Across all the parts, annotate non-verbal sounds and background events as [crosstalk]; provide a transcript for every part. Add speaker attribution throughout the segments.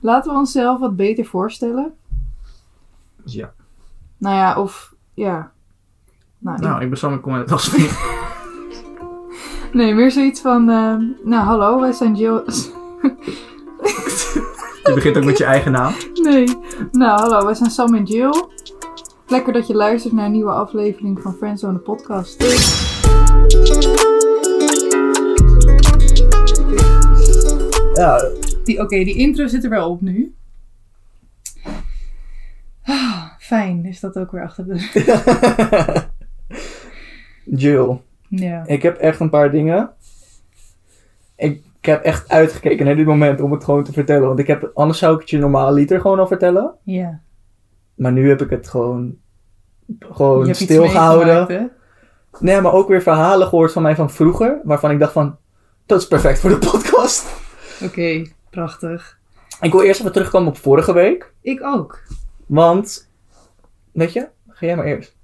Speaker 1: Laten we onszelf wat beter voorstellen.
Speaker 2: Ja.
Speaker 1: Nou ja, of ja. Nou,
Speaker 2: Nou, ik ben Sam en kom uit het Asmeer.
Speaker 1: Nee, meer zoiets van. ehm, nou, hallo, wij zijn Jill. [laughs]
Speaker 2: Je begint ook met je eigen naam.
Speaker 1: nee. Nou, hallo, wij zijn Sam en Jill. Lekker dat je luistert naar een nieuwe aflevering van Friends on the Podcast.
Speaker 2: Ja.
Speaker 1: Die- Oké, die intro zit er wel op nu. Ah, fijn, is dat ook weer achter de [laughs] deur.
Speaker 2: Jill,
Speaker 1: Ja.
Speaker 2: ik heb echt een paar dingen. Ik, ik heb echt uitgekeken naar dit moment om het gewoon te vertellen. Want ik heb, anders zou ik het je normaal liter gewoon al vertellen.
Speaker 1: ja.
Speaker 2: Maar nu heb ik het gewoon,
Speaker 1: Je
Speaker 2: gewoon
Speaker 1: hebt iets
Speaker 2: stilgehouden.
Speaker 1: meegemaakt, hè?
Speaker 2: Nee, maar ook weer verhalen gehoord van mij van vroeger. Waarvan ik dacht van, dat is perfect voor de podcast.
Speaker 1: Oké, prachtig.
Speaker 2: Ik wil eerst even terugkomen op vorige week.
Speaker 1: Ik ook.
Speaker 2: Want, weet je, ga jij maar eerst.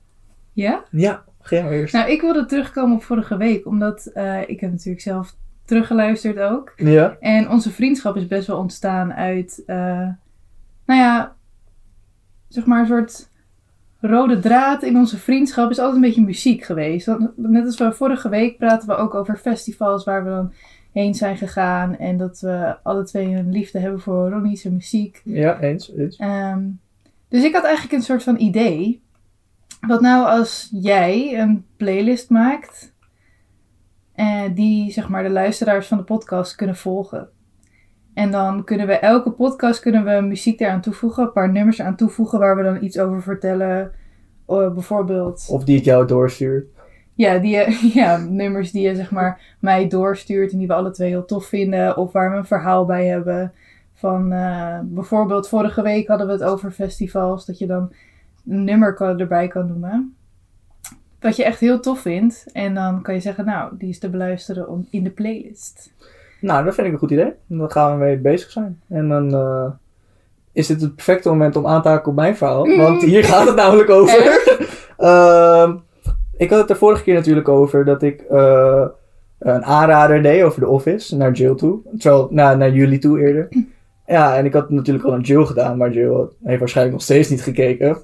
Speaker 1: Ja?
Speaker 2: Ja, ga jij maar
Speaker 1: [laughs]
Speaker 2: eerst.
Speaker 1: Nou, ik wilde terugkomen op vorige week, omdat eh, ik heb natuurlijk zelf teruggeluisterd ook.
Speaker 2: Ja.
Speaker 1: En onze vriendschap is best wel ontstaan uit, eh, nou ja, zeg maar een soort rode draad in onze vriendschap is altijd een beetje muziek geweest. Want Net als we vorige week praten we ook over festivals waar we dan heen zijn gegaan. En dat we alle twee een liefde hebben voor Ronnie's muziek.
Speaker 2: Ja, eens, eens.
Speaker 1: Ehm, dus ik had eigenlijk een soort van idee. Wat nou als jij een playlist maakt eh, die zeg maar de luisteraars van de podcast kunnen volgen. En dan kunnen we elke podcast kunnen we muziek eraan toevoegen, een paar nummers eraan toevoegen waar we dan iets over vertellen. Eh, bijvoorbeeld,
Speaker 2: Of die het jou doorstuurt.
Speaker 1: ja, die, [laughs] je- ja, nummers die je zeg maar mij doorstuurt en die we alle twee heel tof vinden. Of waar we een verhaal bij hebben. Van eh, bijvoorbeeld vorige week hadden we het over festivals. Dat je dan een nummer kan, erbij kan noemen. Dat je echt heel tof vindt. En dan kan je zeggen, nou, die is te beluisteren om, in de playlist.
Speaker 2: Nou, dat vind ik een goed idee. Dan gaan we mee bezig zijn. En dan eh, is dit het perfecte moment om aan te haken op mijn verhaal.
Speaker 1: Mm.
Speaker 2: Want hier gaat het namelijk over. [laughs] Ehm, ik had het de vorige keer natuurlijk over dat ik eh, een aanrader deed over The Office naar Jill toe. Terwijl, nou, naar jullie toe eerder. Ja, en ik had het natuurlijk al aan Jill gedaan, maar Jill heeft waarschijnlijk nog steeds niet gekeken.
Speaker 1: [laughs]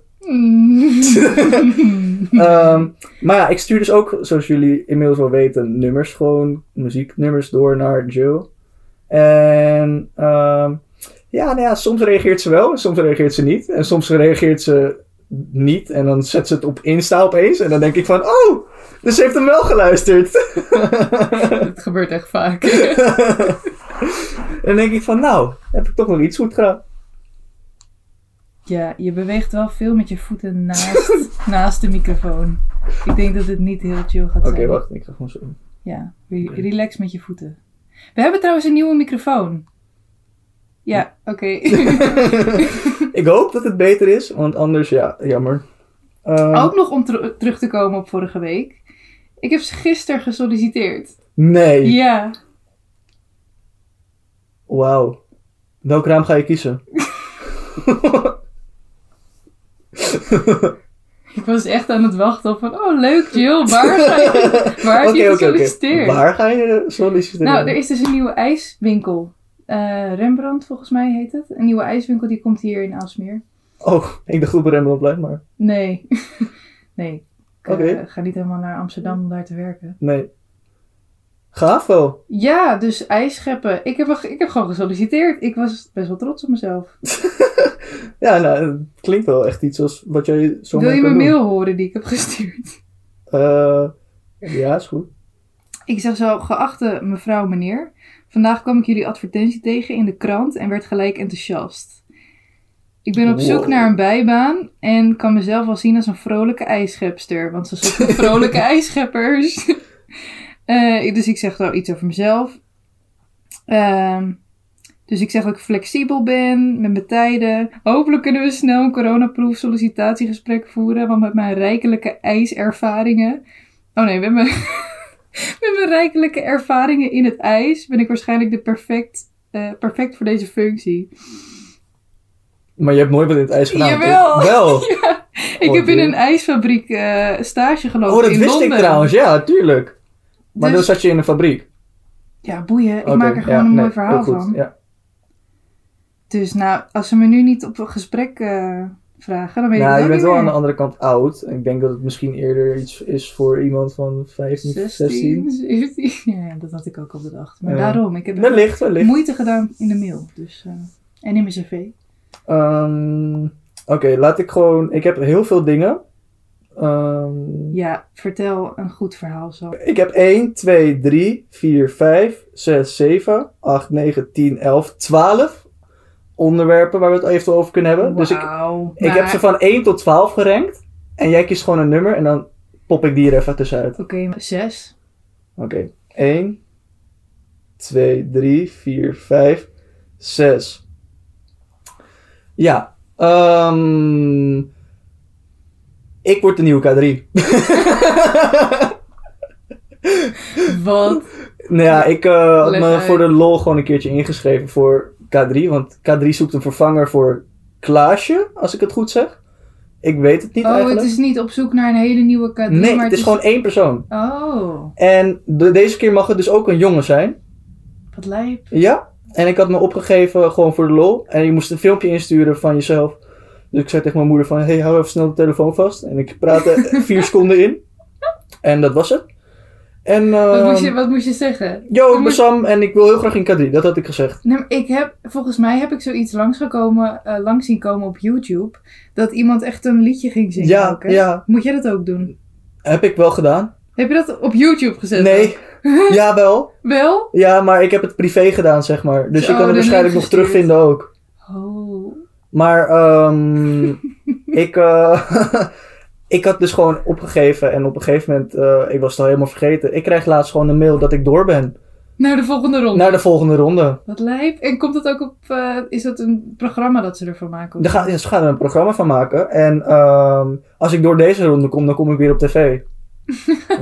Speaker 1: Mm.
Speaker 2: Ehm, maar ja, ik stuur dus ook, zoals jullie inmiddels wel weten, nummers gewoon, muzieknummers door naar Jill. En ehm, ja, nou ja, soms reageert ze wel en soms reageert ze niet. En soms reageert ze niet en dan zet ze het op Insta opeens. En dan denk ik van, oh, dus ze heeft hem wel geluisterd.
Speaker 1: dat gebeurt echt vaak.
Speaker 2: en dan denk ik van, nou, heb ik toch nog iets goed gedaan.
Speaker 1: Ja, je beweegt wel veel met je voeten naast, [laughs] naast de microfoon. Ik denk dat het niet heel chill gaat
Speaker 2: Oké,
Speaker 1: zijn.
Speaker 2: wacht, ik ga gewoon zo.
Speaker 1: Ja, re- relax met je voeten. We hebben trouwens een nieuwe microfoon. Ja, oké.
Speaker 2: [laughs] [laughs]
Speaker 1: [laughs]
Speaker 2: ik hoop dat het beter is, want anders, ja, jammer. Ehm,
Speaker 1: Ook nog om ter- terug te komen op vorige week. Ik heb gisteren gesolliciteerd.
Speaker 2: Nee.
Speaker 1: Ja,
Speaker 2: Wauw. Welk raam ga je kiezen?
Speaker 1: ik was echt aan het wachten op van, oh leuk Jill, [laughs] waar, ga
Speaker 2: [laughs]
Speaker 1: je, [laughs] waar heb je
Speaker 2: oké, oké.
Speaker 1: gesolliciteerd?
Speaker 2: Waar ga je solliciteren?
Speaker 1: Nou, er is dus een nieuwe ijswinkel. Eh, Rembrandt volgens mij heet het. Een nieuwe ijswinkel die komt hier in Aalsmeer.
Speaker 2: Oh, ik dacht op Rembrandt blijft, maar
Speaker 1: Nee, [laughs] nee. Ik eh,
Speaker 2: Oké.
Speaker 1: ga niet helemaal naar Amsterdam om daar te werken.
Speaker 2: nee. Gaaf wel.
Speaker 1: Ja, dus ijs scheppen. Ik heb, ik heb gewoon gesolliciteerd. Ik was best wel trots op mezelf.
Speaker 2: Ja, nou, het klinkt wel echt iets als wat jij zo
Speaker 1: Wil
Speaker 2: maar
Speaker 1: je
Speaker 2: kan
Speaker 1: mijn
Speaker 2: doen.
Speaker 1: mail horen die ik heb gestuurd?
Speaker 2: Eh, ja, is goed.
Speaker 1: Ik zeg zo, geachte mevrouw, meneer. Vandaag kwam ik jullie advertentie tegen in de krant en werd gelijk enthousiast. Ik ben op
Speaker 2: Wow.
Speaker 1: zoek naar een bijbaan en kan mezelf wel zien als een vrolijke ijsschepster. Want ze zoeken vrolijke ijsscheppers. [laughs] Eh, ik- dus ik zeg wel iets over mezelf. Ehm, dus ik zeg dat ik flexibel ben met mijn tijden. Hopelijk kunnen we snel een coronaproof sollicitatiegesprek voeren. Want met mijn rijkelijke ijservaringen... Oh nee, met mijn, met mijn rijkelijke ervaringen in het ijs... ben ik waarschijnlijk de perfect, eh, perfect voor deze functie.
Speaker 2: Maar je hebt nooit wat in het ijs gedaan,
Speaker 1: Jawel. [laughs]
Speaker 2: toch? Wel.
Speaker 1: Ja, ik
Speaker 2: Oh,
Speaker 1: heb in
Speaker 2: dear.
Speaker 1: een ijsfabriek eh, stage gelopen
Speaker 2: Oh, dat
Speaker 1: in
Speaker 2: wist
Speaker 1: Londen.
Speaker 2: ik trouwens. Ja, tuurlijk. Maar
Speaker 1: Dus-
Speaker 2: dan zat je in een fabriek.
Speaker 1: Ja, boeien. Ik
Speaker 2: Oké,
Speaker 1: maak er gewoon
Speaker 2: ja,
Speaker 1: een
Speaker 2: nee,
Speaker 1: mooi
Speaker 2: heel
Speaker 1: verhaal
Speaker 2: goed,
Speaker 1: van.
Speaker 2: Ja.
Speaker 1: Dus nou, als ze me nu niet op een gesprek eh, vragen, dan weet
Speaker 2: Nou,
Speaker 1: ik het
Speaker 2: je
Speaker 1: ook
Speaker 2: bent
Speaker 1: niet
Speaker 2: wel aan de
Speaker 1: meer.
Speaker 2: andere kant oud. Ik denk dat het misschien eerder iets is voor iemand van 15, 16.
Speaker 1: 17. [laughs] Ja, dat had ik ook al bedacht. Maar
Speaker 2: Ja.
Speaker 1: daarom, ik heb
Speaker 2: Wellicht, wellicht.
Speaker 1: moeite gedaan in de mail. Dus, eh, en in mijn cv.
Speaker 2: Ehm, Oké, laat ik gewoon... Ik heb heel veel dingen. Ehm,
Speaker 1: Ja, vertel een goed verhaal zo.
Speaker 2: Ik heb 1, 2, 3, 4, 5, 6, 7, 8, 9, 10, 11, 12 onderwerpen waar we het even over kunnen hebben. Dus ik,
Speaker 1: Wauw.
Speaker 2: ik heb
Speaker 1: Maar-
Speaker 2: ze van 1 tot 12 gerankt. En jij kiest gewoon een nummer en dan pop ik die er even tussenuit.
Speaker 1: Oké, maar zes.
Speaker 2: Oké. 1, 2, 3, 4, 5, 6. Ja. ehm, ik word de [laughs] nieuwe Nou K3.
Speaker 1: Wat?
Speaker 2: Nou ja, ik eh, had
Speaker 1: Leg
Speaker 2: me
Speaker 1: uit.
Speaker 2: voor de lol gewoon een keertje ingeschreven voor K3. Want K3 zoekt een vervanger voor Klaasje, als ik het goed zeg. Ik weet het niet
Speaker 1: oh,
Speaker 2: eigenlijk.
Speaker 1: het is niet op zoek naar een hele nieuwe cadeau.
Speaker 2: nee,
Speaker 1: maar
Speaker 2: het is gewoon één persoon.
Speaker 1: Oh,
Speaker 2: En de- deze keer mag het dus ook een jongen zijn.
Speaker 1: wat lijp.
Speaker 2: Ja. En ik had me opgegeven gewoon voor de lol. En je moest een filmpje insturen van jezelf. Dus ik zei tegen mijn moeder van... Hey, hou even snel de telefoon vast. En ik
Speaker 1: [laughs]
Speaker 2: praatte vier seconden in. En dat was het. En...
Speaker 1: Wat moest,
Speaker 2: ehm,
Speaker 1: je, wat moest je zeggen?
Speaker 2: Yo, ik
Speaker 1: Moet-
Speaker 2: ben Sam en ik wil heel graag in K3. Dat had ik gezegd.
Speaker 1: Nee, maar ik heb, volgens mij heb ik zoiets langsgekomen, eh langs zien komen op YouTube. Dat iemand echt een liedje ging zingen.
Speaker 2: Ja,
Speaker 1: ook, hè?
Speaker 2: ja,
Speaker 1: Moet jij dat ook doen?
Speaker 2: heb ik wel gedaan.
Speaker 1: Heb je dat op YouTube gezet?
Speaker 2: Nee, [laughs] jawel.
Speaker 1: Wel?
Speaker 2: Ja, maar ik heb het privé gedaan, zeg maar. Dus
Speaker 1: Zo,
Speaker 2: je kan
Speaker 1: oh, de
Speaker 2: het
Speaker 1: link
Speaker 2: waarschijnlijk nog
Speaker 1: gestuurd.
Speaker 2: terugvinden ook.
Speaker 1: Oh.
Speaker 2: Maar ehm, ik, eh, [laughs] ik had dus gewoon opgegeven. En op een gegeven moment, eh, ik was het al helemaal vergeten. Ik krijg laatst gewoon een mail dat ik door ben.
Speaker 1: Naar de volgende ronde.
Speaker 2: Naar de volgende ronde.
Speaker 1: Wat lijp. En komt dat ook op, eh, is dat een programma dat ze ervan maken?
Speaker 2: Daar gaan, ja, ze gaan er een programma van maken. En ehm, als ik door deze ronde kom, dan kom ik weer op tv.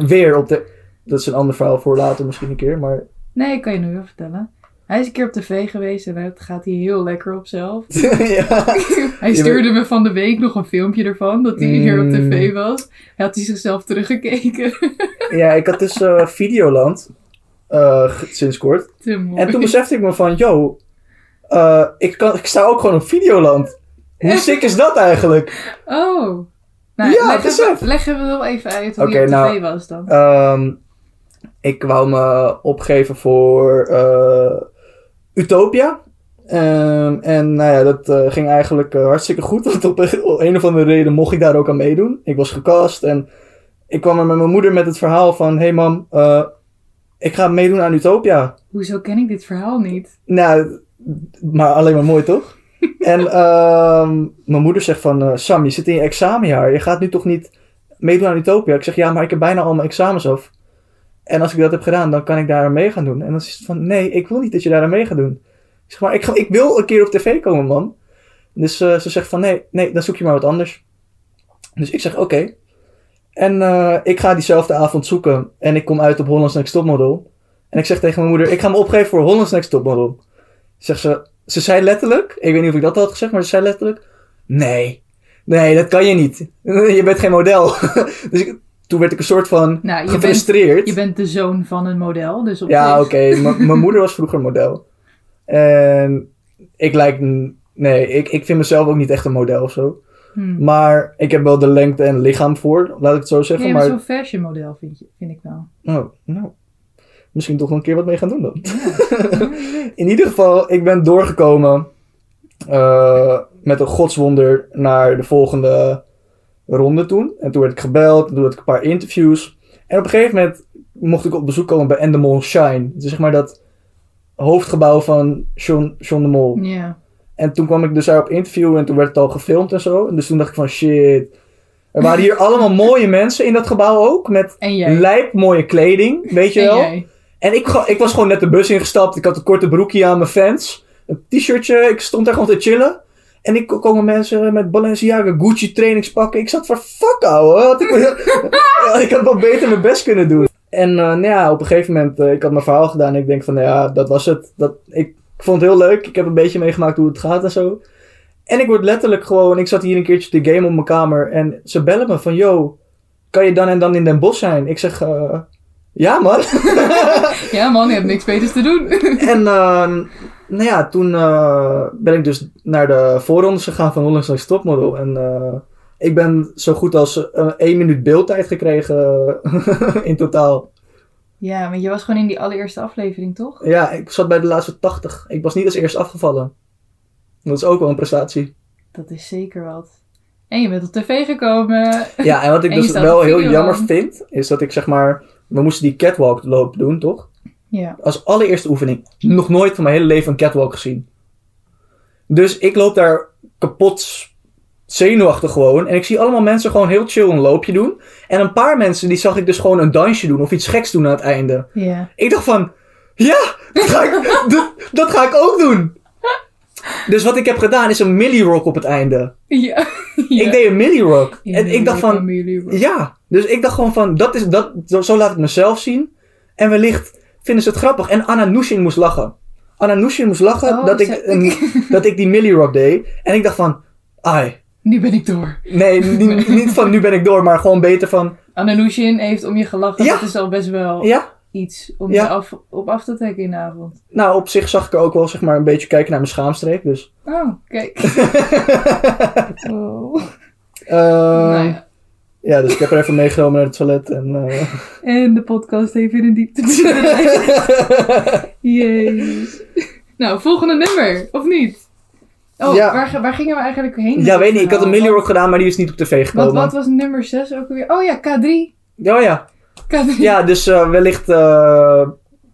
Speaker 2: weer op de... Dat is een ander verhaal voor later misschien een keer. Maar [laughs]
Speaker 1: Nee, ik kan je nu wel vertellen. Hij is een keer op tv geweest en het gaat hij heel lekker op zelf.
Speaker 2: ja.
Speaker 1: Hij stuurde me van de week nog een filmpje ervan dat hij hier op tv
Speaker 2: Mm.
Speaker 1: was. Hij had hij zichzelf teruggekeken. [laughs]
Speaker 2: Ja, ik had dus eh, Videoland eh, g- sinds kort.
Speaker 1: Te mooi.
Speaker 2: En toen besefte ik me van, yo, eh, ik, kan, ik sta ook gewoon op Videoland. Hoe sick is dat eigenlijk?
Speaker 1: Oh. Nou,
Speaker 2: Ja,
Speaker 1: leg,
Speaker 2: besef.
Speaker 1: even, leg even wel even uit hoe
Speaker 2: Oké,
Speaker 1: je op
Speaker 2: nou.
Speaker 1: tv was dan.
Speaker 2: Ehm, ik wou me opgeven voor eh, Utopia. Ehm, en nou ja, dat eh, ging eigenlijk eh, hartstikke goed. [laughs] Want op een, een of andere reden mocht ik daar ook aan meedoen. Ik was gecast en ik kwam er met mijn moeder met het verhaal van... Hé hey mam, eh, ik ga meedoen aan Utopia.
Speaker 1: Hoezo ken ik dit verhaal niet?
Speaker 2: Nou, maar alleen maar mooi toch? en ehm, mijn moeder zegt van, eh, Sam, je zit in je examenjaar. Je gaat nu toch niet meedoen aan Utopia? Ik zeg, ja, maar ik heb bijna al mijn examens af. En als ik dat heb gedaan, dan kan ik daar aan mee gaan doen. En dan is het van, nee, ik wil niet dat je daar aan mee gaat doen. Ik zeg maar, ik, ga- ik wil een keer op tv komen, man. Dus eh, ze zegt van, nee, nee, dan zoek je maar wat anders. Dus ik zeg, oké. En eh, ik ga diezelfde avond zoeken. En ik kom uit op Holland's Next Topmodel. En ik zeg tegen mijn moeder, ik ga me opgeven voor Holland's Next Topmodel. Zegt ze, ze zei letterlijk, ik weet niet of ik dat al had gezegd, maar ze zei letterlijk, nee, nee, dat kan je niet. [laughs] Je bent geen model. [laughs] dus ik, toen werd ik een soort van
Speaker 1: Nou, je bent,
Speaker 2: gefrustreerd.
Speaker 1: je bent de zoon van een model, dus op
Speaker 2: Ja,
Speaker 1: zich-
Speaker 2: oké.
Speaker 1: [laughs]
Speaker 2: M- Mijn moeder was vroeger model. En ik lijk... n- Nee, ik, ik vind mezelf ook niet echt een model of zo.
Speaker 1: Hmm.
Speaker 2: Maar ik heb wel de lengte en lichaam voor, laat ik het zo
Speaker 1: Nee,
Speaker 2: zeggen.
Speaker 1: maar
Speaker 2: maar...
Speaker 1: zo'n fashion model vind, je, vind ik wel.
Speaker 2: Nou, nou, misschien toch nog een keer wat mee gaan doen dan.
Speaker 1: Ja, je weet.
Speaker 2: [laughs] In ieder geval, ik ben doorgekomen eh, met een godswonder naar de volgende ronde toen. En toen werd ik gebeld, toen had ik een paar interviews. En op een gegeven moment mocht ik op bezoek komen bij Endemol Shine. Dus zeg maar dat hoofdgebouw van John, John de Mol.
Speaker 1: ja.
Speaker 2: En toen kwam ik dus daar op interview en toen werd het al gefilmd en zo. En dus toen dacht ik van shit. Er waren hier allemaal mooie mensen in dat gebouw ook. Met
Speaker 1: En jij.
Speaker 2: lijp mooie kleding, weet je
Speaker 1: en
Speaker 2: wel.
Speaker 1: jij.
Speaker 2: En ik, ga- ik was gewoon net de bus ingestapt. Ik had een korte broekje aan mijn fans. Een t-shirtje. Ik stond daar gewoon te chillen. En ik komen mensen met Balenciaga, Gucci trainingspakken. Ik zat van fuck ouwe. Had ik, [laughs] ik had wel beter mijn best kunnen doen. En eh, nou ja, op een gegeven moment, eh, ik had mijn verhaal gedaan. En ik denk van, nou ja, dat was het. Dat, ik, ik vond het heel leuk. Ik heb een beetje meegemaakt hoe het gaat en zo. En ik word letterlijk gewoon, ik zat hier een keertje te game op mijn kamer. En ze bellen me van, yo, kan je dan en dan in Den Bosch zijn? Ik zeg, eh, Ja, man.
Speaker 1: Ja man, je hebt niks beters te doen. [laughs]
Speaker 2: en ehm, nou ja, toen eh, ben ik dus naar de voorrondes gegaan van Holland's Next Topmodel. En eh, ik ben zo goed als eh, één minuut beeldtijd gekregen [laughs] in totaal.
Speaker 1: Ja, want je was gewoon in die allereerste aflevering, toch?
Speaker 2: Ja, ik zat bij de laatste 80. Ik was niet als eerst afgevallen. Dat is ook wel een prestatie.
Speaker 1: Dat is zeker wat. En je bent op tv gekomen.
Speaker 2: Ja, en wat ik
Speaker 1: En je
Speaker 2: dus
Speaker 1: staat
Speaker 2: wel
Speaker 1: op
Speaker 2: heel
Speaker 1: video
Speaker 2: jammer
Speaker 1: dan.
Speaker 2: vind, is dat ik zeg maar... We moesten die catwalk loop doen, toch?
Speaker 1: Ja.
Speaker 2: als allereerste oefening. Nog nooit van mijn hele leven een catwalk gezien. Dus ik loop daar kapot zenuwachtig gewoon. En ik zie allemaal mensen gewoon heel chill een loopje doen. En een paar mensen die zag ik dus gewoon een dansje doen of iets geks doen aan het einde.
Speaker 1: Ja.
Speaker 2: Ik dacht van, ja, dat ga ik, [laughs] dat, dat ga ik ook doen. Dus wat ik heb gedaan is een millie rock op het einde.
Speaker 1: Ja.
Speaker 2: Ik deed een millie rock.
Speaker 1: Ja,
Speaker 2: en ik dacht van,
Speaker 1: familie, bro.
Speaker 2: ja, dus ik dacht gewoon van, dat is, dat, zo, zo laat ik mezelf zien. En wellicht vinden ze het grappig. En Anna Nushin moest lachen. Anna Nushin moest lachen
Speaker 1: Oh,
Speaker 2: dat, ik,
Speaker 1: ze- [laughs]
Speaker 2: een- dat ik die Millie Rock deed. En ik dacht van, ai,
Speaker 1: Nu ben ik door.
Speaker 2: nee,
Speaker 1: [laughs]
Speaker 2: niet, niet van nu ben ik door, maar gewoon beter van,
Speaker 1: Ananushin heeft om je gelachen.
Speaker 2: Ja.
Speaker 1: Dat is al best wel
Speaker 2: ja.
Speaker 1: iets om
Speaker 2: Ja.
Speaker 1: je af, op af te trekken in de avond.
Speaker 2: Nou, op zich zag ik er ook wel zeg maar een beetje kijken naar mijn schaamstreek. Dus,
Speaker 1: Oh, kijk.
Speaker 2: [laughs]
Speaker 1: oh.
Speaker 2: eh,
Speaker 1: Nou
Speaker 2: ja.
Speaker 1: ja.
Speaker 2: dus ik heb er even meegenomen naar het toilet. En,
Speaker 1: [laughs]
Speaker 2: eh,
Speaker 1: En de podcast even in de
Speaker 2: [laughs]
Speaker 1: diepte. Jezus. Nou, volgende nummer, of niet? Oh,
Speaker 2: Ja.
Speaker 1: waar, ge- waar gingen we eigenlijk heen? met
Speaker 2: ja,
Speaker 1: dit
Speaker 2: weet niet, ik had een
Speaker 1: verhaal?
Speaker 2: Millie Rock gedaan, maar die is niet op tv
Speaker 1: Wat,
Speaker 2: gekomen.
Speaker 1: Nou, wat was nummer 6 ook alweer? Oh ja, K3.
Speaker 2: Oh ja.
Speaker 1: K3.
Speaker 2: [laughs] Ja, dus eh, wellicht eh,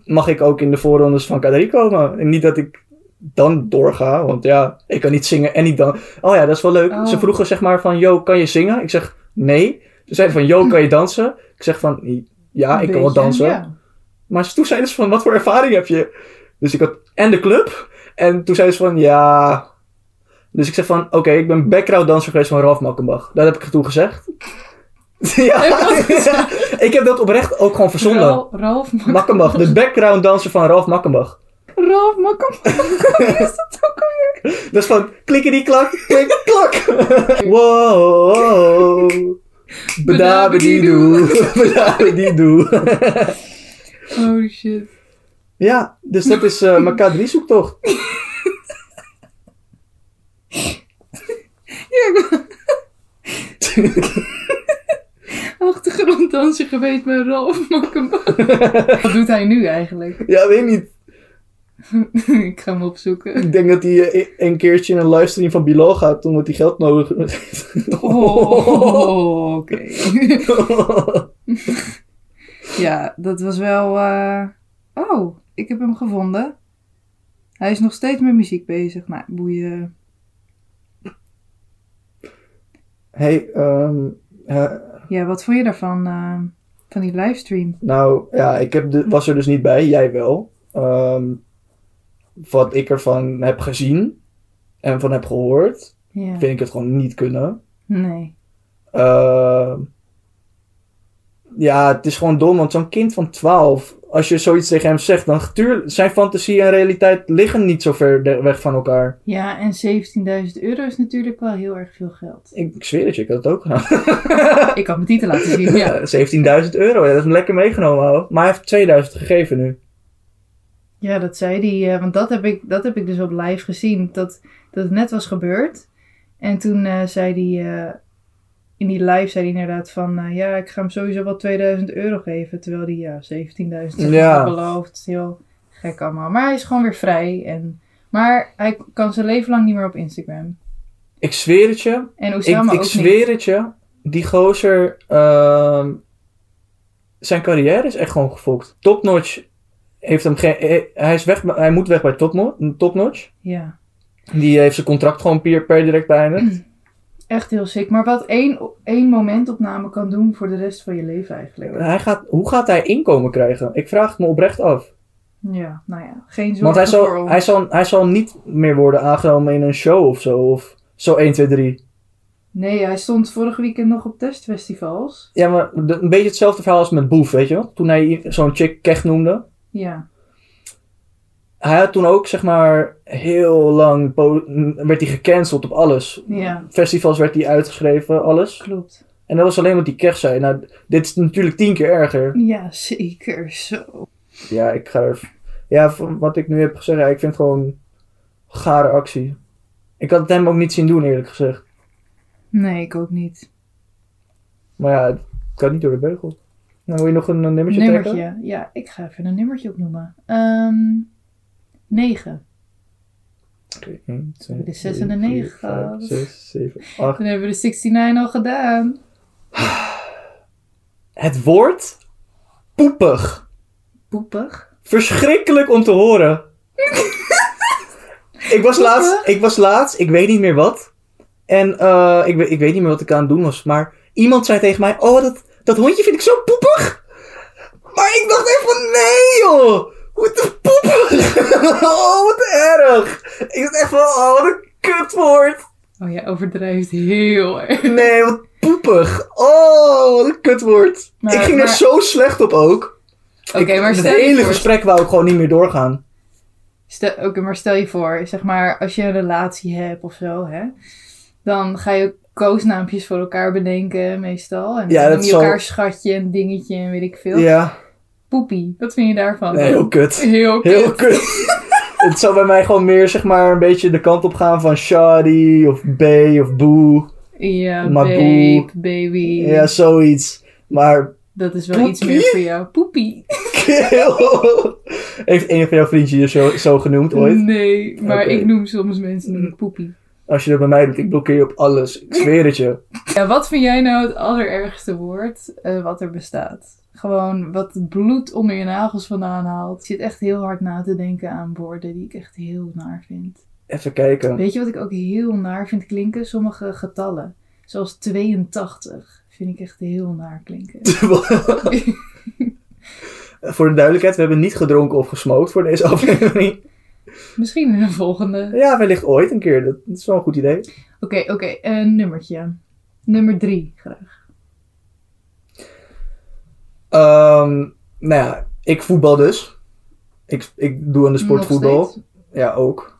Speaker 2: mag ik ook in de voorrondes van K3 komen. En niet dat ik dan doorga, want ja, ik kan niet zingen en niet dan. Oh ja, dat is wel leuk.
Speaker 1: Oh.
Speaker 2: Ze vroegen zeg maar van, yo, kan je zingen? Ik zeg, nee. Ze zeiden van, yo, kan je dansen? Ik zeg van, ja, ik kan wel
Speaker 1: Beetje,
Speaker 2: dansen.
Speaker 1: ja.
Speaker 2: Maar toen zeiden ze van, wat voor ervaring heb je? Dus ik had, en de club. En toen zeiden ze van, ja... Dus ik zeg van, oké, ik ben background danser geweest van Ralf Makkenbach. Dat heb ik toen gezegd. [laughs] ja,
Speaker 1: Heb je dat
Speaker 2: [laughs] ik heb dat oprecht ook gewoon verzonnen.
Speaker 1: Ra- Ralf Mak-
Speaker 2: Makkenbach, de background danser van Ralf Makkenbach.
Speaker 1: [laughs] Ralf Makkenbach. Hoe is dat ook alweer?
Speaker 2: Dat is Dus van klikkerdie klak, klik klak. [laughs] wow. Bedabediedoe, [laughs] bedabediedoe.
Speaker 1: Oh shit.
Speaker 2: Ja, dus dat is eh mijn K3 zoektocht.
Speaker 1: Achtergronddanser geweest bij Ralf Makkenbach. Wat doet hij nu eigenlijk?
Speaker 2: [laughs]
Speaker 1: [laughs]
Speaker 2: Ja, weet niet.
Speaker 1: ik ga hem
Speaker 2: [laughs]
Speaker 1: opzoeken.
Speaker 2: Ik denk dat hij eh, een keertje in een livestream van Bilo gaat, omdat hij geld nodig heeft.
Speaker 1: Oh, oké. [laughs] ja, dat was wel... eh, Oh, ik heb hem gevonden. Hij is nog steeds met muziek bezig. Nou, boeien.
Speaker 2: [laughs] hey, ehm, eh,
Speaker 1: Ja, wat vond je daarvan? eh, van die livestream?
Speaker 2: Nou ja, ik heb de- was er dus niet bij, jij wel. Ehm, wat ik ervan heb gezien en van heb gehoord,
Speaker 1: Ja.
Speaker 2: vind ik het gewoon niet kunnen.
Speaker 1: Nee.
Speaker 2: Ehm, ja, het is gewoon dom, want zo'n kind van 12, als je zoiets tegen hem zegt, dan tuurlijk, zijn fantasie en realiteit liggen niet zo ver de- weg van elkaar.
Speaker 1: Ja, en 17.000 euro is natuurlijk wel heel erg veel
Speaker 2: [laughs]
Speaker 1: geld.
Speaker 2: Ik, ik zweer het je, ik had het ook gedaan.
Speaker 1: Ik had mijn titel laten zien,
Speaker 2: [laughs]
Speaker 1: ja.
Speaker 2: 17.000 euro, ja, dat is hem lekker meegenomen, ouwe. Maar hij heeft 2000 gegeven nu.
Speaker 1: Ja, dat zei hij. eh, want dat heb, ik, dat heb ik dus op live gezien. Dat, dat het net was gebeurd. En toen eh, zei hij... eh, in die live zei hij inderdaad van... eh, ja, ik ga hem sowieso wel 2000 euro geven. Terwijl hij ja, 17.000
Speaker 2: Ja.
Speaker 1: ja. belooft. Heel gek allemaal. Maar hij is gewoon weer vrij. En, maar hij kan zijn leven lang niet meer op Instagram.
Speaker 2: Ik zweer het je,
Speaker 1: En
Speaker 2: Ik,
Speaker 1: Osama
Speaker 2: ik
Speaker 1: ook
Speaker 2: zweer
Speaker 1: niet.
Speaker 2: het je, die gozer, ehm, zijn carrière is echt gewoon gefokt. Topnotch heeft hem geen, eh, hij, is weg, bij- hij moet weg bij Topno- Topnotch.
Speaker 1: Ja.
Speaker 2: Die heeft zijn contract gewoon per, per direct beëindigd.
Speaker 1: Echt heel sick. Maar wat één, één momentopname kan doen voor de rest van je leven eigenlijk.
Speaker 2: Hij gaat, hoe gaat hij inkomen krijgen? Ik vraag het me oprecht af.
Speaker 1: Ja, nou ja. Geen zorgen
Speaker 2: Want hij
Speaker 1: voor
Speaker 2: zal,
Speaker 1: ons.
Speaker 2: hij, zal, hij zal niet meer worden aangenomen in een show of zo. Of zo 1, 2, 3.
Speaker 1: Nee, hij stond vorig weekend nog op testfestivals.
Speaker 2: Ja, maar de- een beetje hetzelfde verhaal als met Boef, weet je wel? Toen hij zo'n chick kech noemde.
Speaker 1: Ja.
Speaker 2: hij had toen ook, zeg maar, heel lang po- werd hij gecanceld op alles.
Speaker 1: Ja,
Speaker 2: Festivals werd hij uitgeschreven, alles.
Speaker 1: klopt.
Speaker 2: En dat was alleen wat die kech zei. Nou, dit is natuurlijk tien keer erger.
Speaker 1: Ja, zeker zo.
Speaker 2: Ja, ik ga er... Ja, van wat ik nu heb gezegd, ja, ik vind het gewoon gare actie. Ik had het hem ook niet zien doen, eerlijk gezegd.
Speaker 1: Nee, ik ook niet.
Speaker 2: Maar ja, het kan niet door de beugel. Nou, wil je nog een, eh, nummertje, trekken?
Speaker 1: Nummertje. Ja, ik ga even een nummertje opnoemen. Ehm 9.
Speaker 2: Oké, één, twee,
Speaker 1: De zes
Speaker 2: drie,
Speaker 1: en de
Speaker 2: vier,
Speaker 1: negen.
Speaker 2: vijf, zes, zeven, acht.
Speaker 1: Dan hebben we de 69 al gedaan.
Speaker 2: Het woord poepig.
Speaker 1: Poepig.
Speaker 2: Verschrikkelijk om te
Speaker 1: [laughs]
Speaker 2: horen. ik, was laatst, ik was laatst, ik weet niet meer wat. En eh, ik, we- ik weet niet meer wat ik aan het doen was. Maar iemand zei tegen mij: Oh, dat, dat hondje vind ik zo poepig. Maar ik dacht echt van: Nee, joh. Wat een poepig. [laughs] oh, wat erg. Ik dacht echt van: Oh, wat een kutwoord.
Speaker 1: Oh, jij overdrijft heel [laughs] erg.
Speaker 2: Nee, wat poepig. Oh, wat een kutwoord.
Speaker 1: Maar-
Speaker 2: ik ging er
Speaker 1: maar-
Speaker 2: zo slecht op ook.
Speaker 1: Oké, maar
Speaker 2: Het
Speaker 1: stel je
Speaker 2: hele
Speaker 1: voor-
Speaker 2: gesprek wou ik gewoon niet meer doorgaan.
Speaker 1: Stel, oké, maar stel je voor, zeg maar, als je een relatie hebt of zo, hè, dan ga je koosnaampjes voor elkaar bedenken, meestal. En
Speaker 2: Ja,
Speaker 1: dan
Speaker 2: dat
Speaker 1: noem je
Speaker 2: zal-
Speaker 1: elkaar schatje en dingetje en weet ik veel.
Speaker 2: Ja,
Speaker 1: Poepie, wat vind je daarvan?
Speaker 2: nee, heel kut.
Speaker 1: Heel kut.
Speaker 2: [laughs] Heel kut. Het zou bij mij gewoon meer, zeg maar, een beetje de kant op gaan van shoddy of bae of boe.
Speaker 1: Ja,
Speaker 2: Maar
Speaker 1: babe,
Speaker 2: boe.
Speaker 1: baby.
Speaker 2: Ja, zoiets. Maar,
Speaker 1: Dat is wel iets
Speaker 2: Poepie?
Speaker 1: meer voor jou. Poepie.
Speaker 2: heeft een van jouw vriendjes je zo, zo genoemd
Speaker 1: Mm.
Speaker 2: ooit?
Speaker 1: [laughs] Nee, maar
Speaker 2: Oké. Mm.
Speaker 1: ik noem soms mensen noem ik poepie.
Speaker 2: Als je dat bij mij doet, ik blokkeer je op alles. Ik zweer het je.
Speaker 1: Ja, wat vind jij nou het allerergste woord eh, wat er bestaat? Gewoon wat het bloed onder je nagels vandaan haalt. Ik zit echt heel hard na te denken aan woorden die ik echt heel naar vind.
Speaker 2: Even kijken.
Speaker 1: Weet je wat ik ook heel naar vind klinken? Sommige getallen. Zoals 82 vind ik echt heel naar
Speaker 2: [laughs]
Speaker 1: klinken.
Speaker 2: [laughs] Voor de duidelijkheid, we hebben niet gedronken of gesmokt voor deze aflevering.
Speaker 1: Misschien in een volgende. Oké,
Speaker 2: Ja, wellicht ooit een keer. Dat is wel een goed idee.
Speaker 1: oké. een nummertje. Nummer 3 graag.
Speaker 2: Ehm, nou ja, ik voetbal dus. Ik, ik doe aan de sport
Speaker 1: Nog
Speaker 2: voetbal.
Speaker 1: steeds.
Speaker 2: Ja, ook.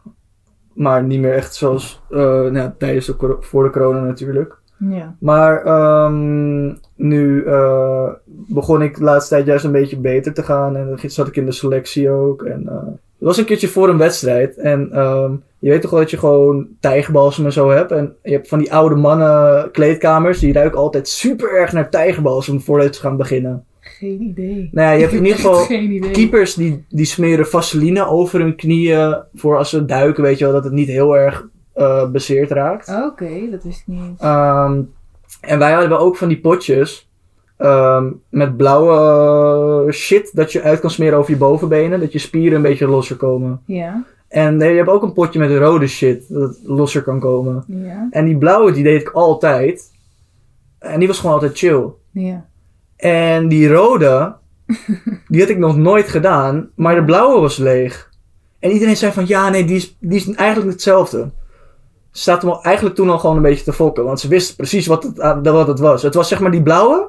Speaker 2: Maar niet meer echt zoals eh, nou, ja, tijdens de, cor- voor de corona natuurlijk.
Speaker 1: Ja.
Speaker 2: Maar ehm, nu eh, begon ik de laatste tijd juist een beetje beter te gaan. En dan zat ik in de selectie ook. En eh het was een keertje voor een wedstrijd. En ehm, je weet toch wel dat je gewoon tijgerbalsem en zo hebt. En je hebt van die oude mannen kleedkamers. Die ruiken altijd super erg naar tijgerbalsem voordat ze gaan beginnen.
Speaker 1: Geen idee.
Speaker 2: Nou ja, je hebt
Speaker 1: [laughs]
Speaker 2: in ieder geval
Speaker 1: Geen idee.
Speaker 2: keepers die, die smeren vaseline over hun knieën. Voor als ze duiken, weet je wel, dat het niet heel erg eh bezeerd raakt.
Speaker 1: Oké, dat wist ik niet.
Speaker 2: Ehm, en wij hadden ook van die potjes. ehm, met blauwe eh, shit dat je uit kan smeren over je bovenbenen. Dat je spieren een beetje losser komen.
Speaker 1: Ja,
Speaker 2: En nee, je hebt ook een potje met rode shit dat losser kan komen.
Speaker 1: ja,
Speaker 2: En die blauwe die deed ik altijd. En die was gewoon altijd chill.
Speaker 1: ja.
Speaker 2: En die rode, die had ik nog nooit gedaan, maar de blauwe was leeg. En iedereen zei van, ja, nee, die is, die is eigenlijk hetzelfde. Ze zaten me eigenlijk toen al gewoon een beetje te fokken, want ze wisten precies wat het, ah, wat het was. Het was zeg maar die blauwe,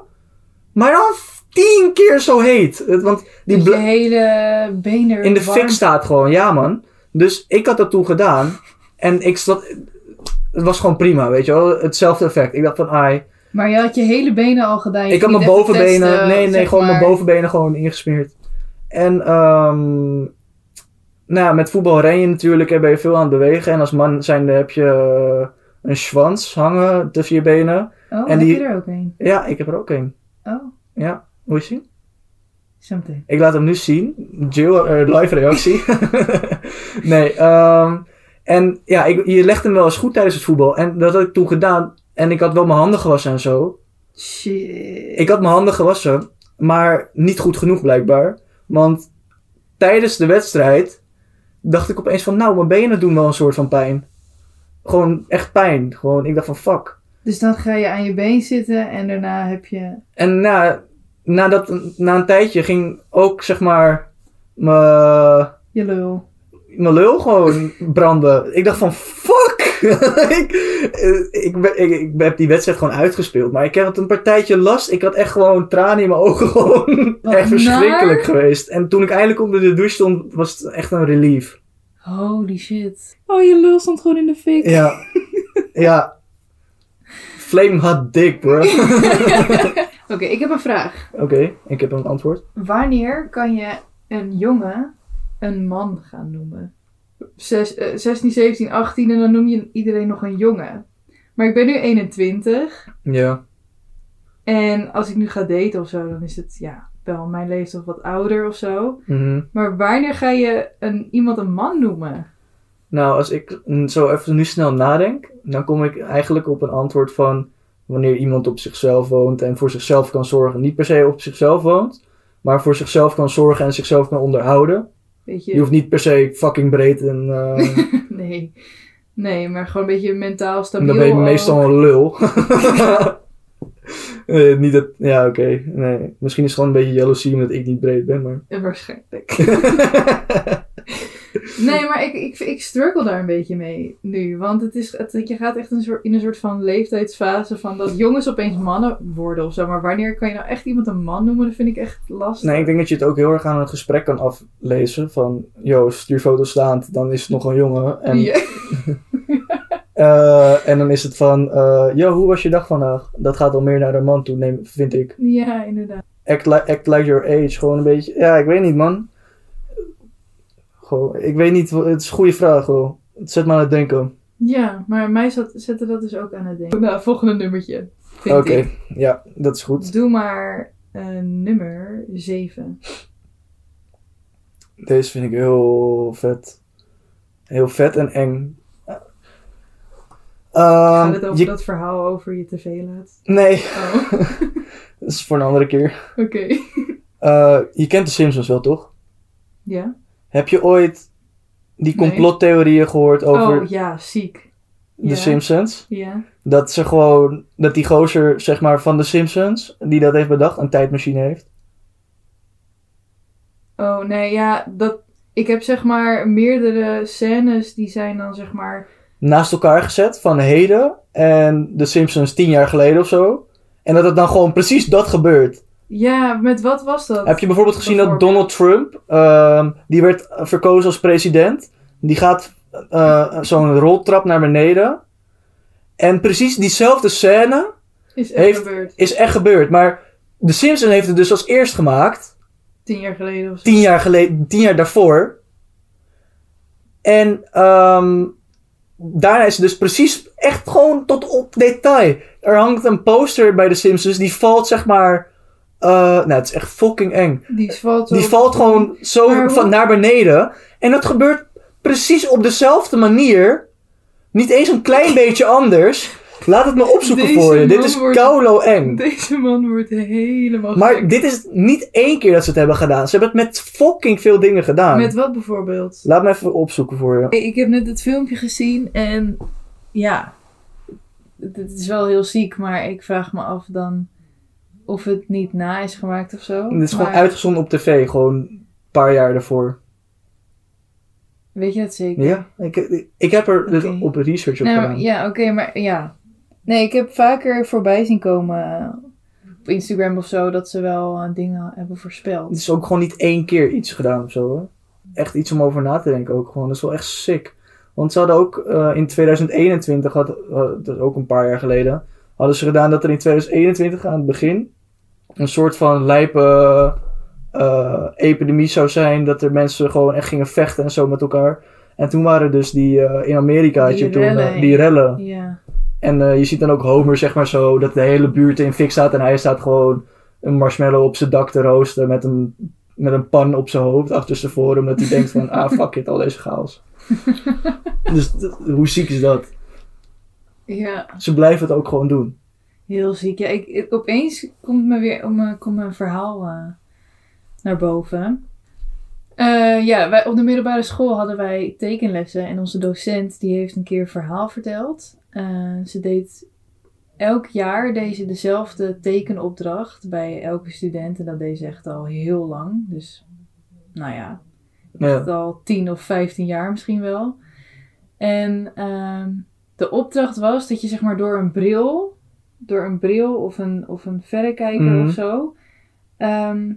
Speaker 2: maar dan tien keer zo heet. Het- Want die
Speaker 1: Die
Speaker 2: bla-
Speaker 1: Dus je hele benen
Speaker 2: in de
Speaker 1: warm-
Speaker 2: fik staat gewoon, ja man. Dus ik had dat toen gedaan en ik zat, het was gewoon prima, weet je wel. Hetzelfde effect. Ik dacht van, ai,
Speaker 1: Maar je had je hele benen al gedaan. je
Speaker 2: ik had
Speaker 1: ging
Speaker 2: mijn
Speaker 1: niet even
Speaker 2: bovenbenen.
Speaker 1: testen,
Speaker 2: nee, nee,
Speaker 1: zeg
Speaker 2: gewoon mijn
Speaker 1: maar.
Speaker 2: bovenbenen gewoon ingesmeerd. En ehm nou ja, met voetbal ren je natuurlijk en ben je veel aan het bewegen. En als man zijnde heb je eh, een schwans hangen tussen je benen.
Speaker 1: Oh,
Speaker 2: en
Speaker 1: heb
Speaker 2: die-
Speaker 1: je er ook een?
Speaker 2: Ja, ik heb er ook een.
Speaker 1: Oh,
Speaker 2: Ja, moet je zien?
Speaker 1: something.
Speaker 2: Ik laat hem nu zien. Jill, eh, live reactie. [laughs] nee, ehm, en ja, ik, je legt hem wel eens goed tijdens het voetbal. En dat had ik toen gedaan. En ik had wel mijn handen gewassen en zo.
Speaker 1: Shit.
Speaker 2: Ik had mijn handen gewassen, maar niet goed genoeg blijkbaar. Want tijdens de wedstrijd dacht ik opeens van, nou, mijn benen doen wel een soort van pijn. Gewoon echt pijn. Gewoon, ik dacht van, fuck.
Speaker 1: Dus dan ga je aan je been zitten en daarna heb je...
Speaker 2: En na, na, dat, na een tijdje ging ook, zeg maar, mijn
Speaker 1: Je lul.
Speaker 2: mijn lul gewoon branden. Ik dacht van, fuck! [laughs] ik, eh, ik, ben- ik, ik heb die wedstrijd gewoon uitgespeeld. Maar ik heb het een partijtje last. Ik had echt gewoon tranen in mijn ogen. [laughs] Gewoon
Speaker 1: Wat
Speaker 2: echt verschrikkelijk
Speaker 1: naar.
Speaker 2: geweest. En toen ik eindelijk onder de douche stond, was het echt een relief. [laughs]
Speaker 1: Holy shit. Oh, je lul stond gewoon in de fik.
Speaker 2: Ja. ja. Flame hot
Speaker 1: [laughs]
Speaker 2: dick, bro. Oké,
Speaker 1: Oké, ik heb een vraag.
Speaker 2: ik heb een antwoord.
Speaker 1: Wanneer kan je een jongen een man gaan noemen? Zes, eh, 16, 17, 18 en dan noem je iedereen nog een jongen. Maar ik ben nu 21
Speaker 2: Ja.
Speaker 1: en als ik nu ga daten of zo, dan is het ja, wel mijn leeftijd wat ouder of zo.
Speaker 2: Mhm.
Speaker 1: Maar wanneer ga je een, iemand een man noemen?
Speaker 2: Nou, als ik mm, zo even nu snel nadenk, dan kom ik eigenlijk op een antwoord van wanneer iemand op zichzelf woont en voor zichzelf kan zorgen. Niet per se op zichzelf woont, maar voor zichzelf kan zorgen en zichzelf kan onderhouden.
Speaker 1: Weet
Speaker 2: Je hoeft niet per se fucking breed en eh,
Speaker 1: [laughs] Nee. Nee, maar gewoon een beetje mentaal stabiel.
Speaker 2: dan ben je
Speaker 1: ook.
Speaker 2: meestal een lul. [laughs] Eh, niet dat, ja oké, nee. Misschien is het gewoon een beetje jaloezie omdat ik niet breed ben, maar...
Speaker 1: Eh, Waarschijnlijk.
Speaker 2: [laughs]
Speaker 1: nee, maar ik, ik, ik struggle daar een beetje mee nu. Want het is, het, je gaat echt een soort, in een soort van leeftijdsfase van dat jongens opeens mannen worden of zo. Maar wanneer kan je nou echt iemand een man noemen? Dat vind ik echt lastig.
Speaker 2: Nee, ik denk dat je het ook heel erg aan een gesprek kan aflezen van... Yo, stuur foto's staand, dan is het nog een jongen. En
Speaker 1: Ja.
Speaker 2: Eh, en dan is het van, eh yo, hoe was je dag vandaag? Dat gaat al meer naar de man toe, neem, vind ik.
Speaker 1: [laughs] ja, inderdaad.
Speaker 2: Act, li- act like your age, gewoon een beetje. Ja, ik weet niet, man. Goh, ik weet niet, het is een goede vraag, hoor. Het zet me aan het
Speaker 1: [laughs]
Speaker 2: denken.
Speaker 1: Ja, maar mij zat, zette dat dus ook aan het denken. Nou, volgende nummertje.
Speaker 2: Oké,
Speaker 1: Vind ik.
Speaker 2: ja, dat is goed.
Speaker 1: Doe maar eh, nummer 7.
Speaker 2: Deze vind ik heel vet. Heel vet en eng.
Speaker 1: Gaat
Speaker 2: Ehm,
Speaker 1: het over
Speaker 2: je-
Speaker 1: dat verhaal over je tv laat?
Speaker 2: Nee, [laughs]
Speaker 1: Oh, [laughs]
Speaker 2: dat is voor een andere keer.
Speaker 1: oké.
Speaker 2: Eh, je kent de Simpsons wel, toch?
Speaker 1: Ja?
Speaker 2: Heb je ooit die
Speaker 1: Nee.
Speaker 2: complottheorieën gehoord over
Speaker 1: Oh, ja, ziek.
Speaker 2: de
Speaker 1: ja.
Speaker 2: Simpsons?
Speaker 1: Ja.
Speaker 2: Dat ze gewoon, dat die gozer, zeg maar, van de Simpsons, die dat heeft bedacht, een tijdmachine heeft.
Speaker 1: Oh nee, ja, dat. Ik heb zeg maar meerdere scènes die zijn dan zeg maar.
Speaker 2: Naast elkaar gezet van heden en de Simpsons tien jaar geleden of zo. En dat het dan gewoon precies dat gebeurt.
Speaker 1: Ja, met wat was dat?
Speaker 2: Heb je bijvoorbeeld gezien dat
Speaker 1: Bijvoorbeeld.
Speaker 2: Donald Trump, ehm, die werd eh, verkozen als president. Die gaat eh, zo'n roltrap naar beneden. En precies diezelfde scène
Speaker 1: Is echt
Speaker 2: heeft-
Speaker 1: gebeurd.
Speaker 2: is echt gebeurd. Maar de Simpsons heeft het dus als eerst gemaakt.
Speaker 1: Tien jaar geleden of zo.
Speaker 2: Tien jaar, geleden, tien jaar daarvoor. En ehm, daarna is het dus precies echt gewoon tot op detail. Er hangt een poster bij de Simpsons. Die valt zeg maar... eh, nou, het is echt fucking eng.
Speaker 1: Die valt zo.
Speaker 2: Die valt gewoon zo
Speaker 1: Maar
Speaker 2: van
Speaker 1: hoe-
Speaker 2: naar beneden. En dat gebeurt precies op dezelfde manier. Niet eens een
Speaker 1: [laughs]
Speaker 2: klein beetje anders. Laat het me opzoeken
Speaker 1: Deze
Speaker 2: voor je. Dit
Speaker 1: man
Speaker 2: is
Speaker 1: wordt-
Speaker 2: koulo
Speaker 1: [laughs]
Speaker 2: eng.
Speaker 1: Deze man wordt helemaal.
Speaker 2: Maar
Speaker 1: gek.
Speaker 2: dit is niet één keer dat ze het hebben gedaan. Ze hebben het met fucking veel dingen gedaan.
Speaker 1: Met wat bijvoorbeeld?
Speaker 2: Laat me even opzoeken voor je.
Speaker 1: Ik ik heb net het filmpje gezien en ja, het is wel heel ziek, maar ik vraag me af dan of het niet na is gemaakt of zo.
Speaker 2: Dit is gewoon
Speaker 1: Maar
Speaker 2: uitgezonden op tv, gewoon een paar jaar daarvoor.
Speaker 1: Weet je dat zeker?
Speaker 2: Ja, ik, ik- ik heb er dus
Speaker 1: Oké.
Speaker 2: op research op
Speaker 1: Nou,
Speaker 2: gedaan.
Speaker 1: ja, oké, maar ja. Nee, ik heb vaker voorbij zien komen eh, op Instagram of zo dat ze wel eh, dingen hebben
Speaker 2: Het
Speaker 1: voorspeld.
Speaker 2: is ook gewoon niet één keer iets gedaan of zo. Hè? Echt iets om over na te denken ook gewoon. Dat is wel echt sick. Want ze hadden ook eh, in 2021, had, eh, dat is ook een paar jaar geleden, hadden ze gedaan dat er in 2021 aan het begin een soort van lijpe eh, epidemie zou zijn. Dat er mensen gewoon echt gingen vechten en zo met elkaar. En toen waren dus die eh, in Amerika, had
Speaker 1: Die
Speaker 2: je toen eh,
Speaker 1: rellen.
Speaker 2: die rellen.
Speaker 1: Ja.
Speaker 2: En eh, je ziet dan ook Homer, zeg maar zo, dat de hele buurt in fik staat. En hij staat gewoon een marshmallow op zijn dak te roosteren met een, met een pan op zijn hoofd achterstevoren. Omdat hij denkt
Speaker 1: [laughs]
Speaker 2: van, ah fuck it, al deze chaos. dus d- hoe ziek is dat?
Speaker 1: ja,
Speaker 2: Ze blijven het ook gewoon doen.
Speaker 1: heel ziek. Ja, ik, ik- opeens komt me weer om, eh, komt mijn verhaal eh, naar boven. Eh, ja, wij, op de middelbare school hadden wij tekenlessen en onze docent die heeft een keer een verhaal verteld. Eh, ze deed elk jaar deze dezelfde tekenopdracht bij elke student en dat deed ze echt al heel lang. Dus nou ja,
Speaker 2: Ja.
Speaker 1: echt al 10 of 15 jaar misschien wel. En ehm, de opdracht was dat je zeg maar door een bril, door een bril of een, of een verrekijker
Speaker 2: Mhm.
Speaker 1: of zo, ehm,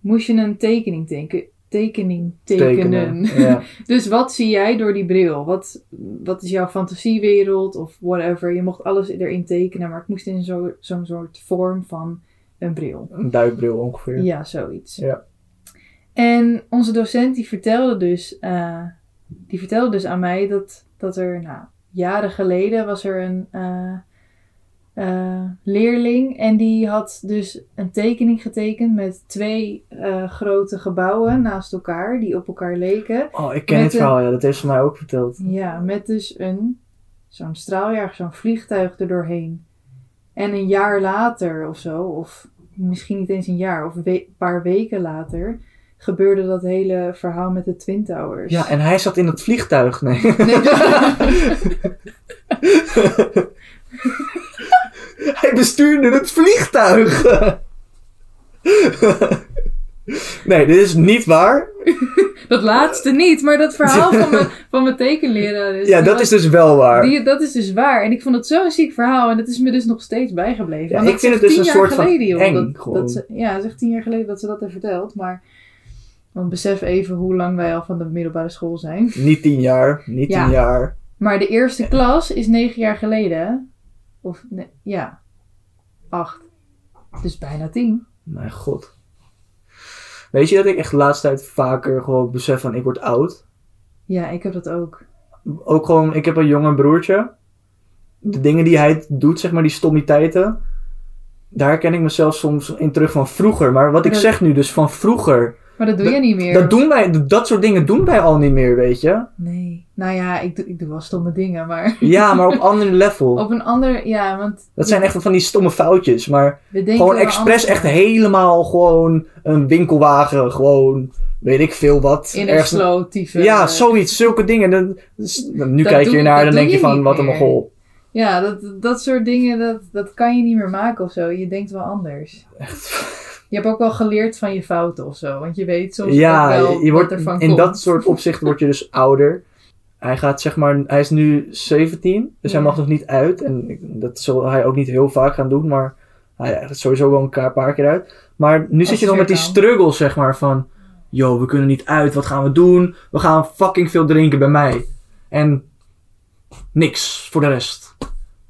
Speaker 1: moest je een tekening teken- tekening tekenen.
Speaker 2: Ja.
Speaker 1: [laughs] Dus wat zie jij door die bril? Wat, wat is jouw fantasiewereld of whatever? Je mocht alles erin tekenen, maar het moest in zo- zo'n soort vorm van een bril.
Speaker 2: Een duikbril ongeveer.
Speaker 1: Ja, zoiets.
Speaker 2: Ja.
Speaker 1: En onze docent die vertelde dus, eh, die vertelde dus aan mij dat, dat er nou, jaren geleden was er een eh, eh, leerling en die had dus een tekening getekend met twee eh, grote gebouwen naast elkaar die op elkaar leken.
Speaker 2: Oh, ik ken
Speaker 1: Met
Speaker 2: het
Speaker 1: een-
Speaker 2: verhaal, ja. Dat heeft ze mij ook verteld.
Speaker 1: Ja, met dus een zo'n straaljager, zo'n vliegtuig er doorheen. En een jaar later of zo, of misschien niet eens een jaar, of een we- paar weken later, gebeurde dat hele verhaal met de Twin Towers.
Speaker 2: Ja, en hij zat in het vliegtuig. Nee. [laughs]
Speaker 1: Nee,
Speaker 2: hij bestuurde het vliegtuig. [laughs] nee, dit is niet waar.
Speaker 1: [laughs] dat laatste niet, maar dat verhaal van mijn, van mijn tekenleraar.
Speaker 2: Ja, dat is dus wel waar.
Speaker 1: Die, dat is dus waar. En ik vond het zo'n ziek verhaal. En het is me dus nog steeds bijgebleven.
Speaker 2: Ja,
Speaker 1: Want
Speaker 2: ik
Speaker 1: dat
Speaker 2: vind
Speaker 1: is
Speaker 2: het dus
Speaker 1: tien
Speaker 2: een
Speaker 1: jaar
Speaker 2: soort van
Speaker 1: geleden, joh,
Speaker 2: eng,
Speaker 1: dat-
Speaker 2: gewoon.
Speaker 1: dat ze- ja, het is echt tien jaar geleden dat ze dat heeft verteld. Maar want besef even hoe lang wij al van de middelbare school zijn.
Speaker 2: Niet tien jaar. Niet
Speaker 1: Ja.
Speaker 2: tien jaar.
Speaker 1: Maar de eerste klas is negen jaar geleden. hè? Of, nee, ja. Acht. Dus bijna tien.
Speaker 2: Mijn god. Weet je dat ik echt de laatste tijd vaker gewoon besef van ik word oud?
Speaker 1: Ja, ik heb dat ook.
Speaker 2: ook gewoon, ik heb een jonger broertje. De dingen die hij doet, zeg maar, die stommiteiten. Daar ken ik mezelf soms in terug van vroeger. Maar wat ik
Speaker 1: Dat-
Speaker 2: zeg nu, dus van vroeger.
Speaker 1: Maar dat doe
Speaker 2: Dat-
Speaker 1: je niet meer.
Speaker 2: Dat, doen wij, dat soort dingen doen wij al niet meer, weet je?
Speaker 1: Nee. Nou ja, ik doe, ik doe wel stomme dingen, maar...
Speaker 2: Ja, maar op [laughs] ander level.
Speaker 1: Op een ander... Ja, want
Speaker 2: Dat zijn echt van die stomme foutjes. Maar
Speaker 1: we denken...
Speaker 2: gewoon
Speaker 1: wel
Speaker 2: expres
Speaker 1: anders.
Speaker 2: echt helemaal gewoon een winkelwagen. Gewoon, weet ik veel wat.
Speaker 1: In een
Speaker 2: ergens-
Speaker 1: slotieven.
Speaker 2: Ja, zoiets, zulke dingen. Dan, nu
Speaker 1: Dat
Speaker 2: kijk je
Speaker 1: doe-
Speaker 2: ernaar
Speaker 1: dat
Speaker 2: en
Speaker 1: doe
Speaker 2: denk je
Speaker 1: je
Speaker 2: van,
Speaker 1: niet
Speaker 2: wat een
Speaker 1: meer.
Speaker 2: mogol.
Speaker 1: Ja, dat, dat soort dingen, dat, dat kan je niet meer maken of zo. Je denkt wel anders. Je hebt ook wel geleerd van je fouten of zo. Want je weet soms
Speaker 2: ja,
Speaker 1: ook wel
Speaker 2: je- je wordt,
Speaker 1: wat ervan
Speaker 2: in
Speaker 1: komt.
Speaker 2: dat soort opzichten word je dus ouder. Hij gaat zeg maar, hij is nu 17, dus hij
Speaker 1: Ja.
Speaker 2: mag nog niet uit. En ik- dat zal hij ook niet heel vaak gaan doen, maar hij gaat sowieso wel een ka- paar keer uit. Maar nu zit
Speaker 1: het
Speaker 2: je nog
Speaker 1: weer
Speaker 2: met die
Speaker 1: kan.
Speaker 2: struggle zeg maar van, yo, we kunnen niet uit, wat gaan we doen? We gaan fucking veel drinken bij mij. En niks voor de rest.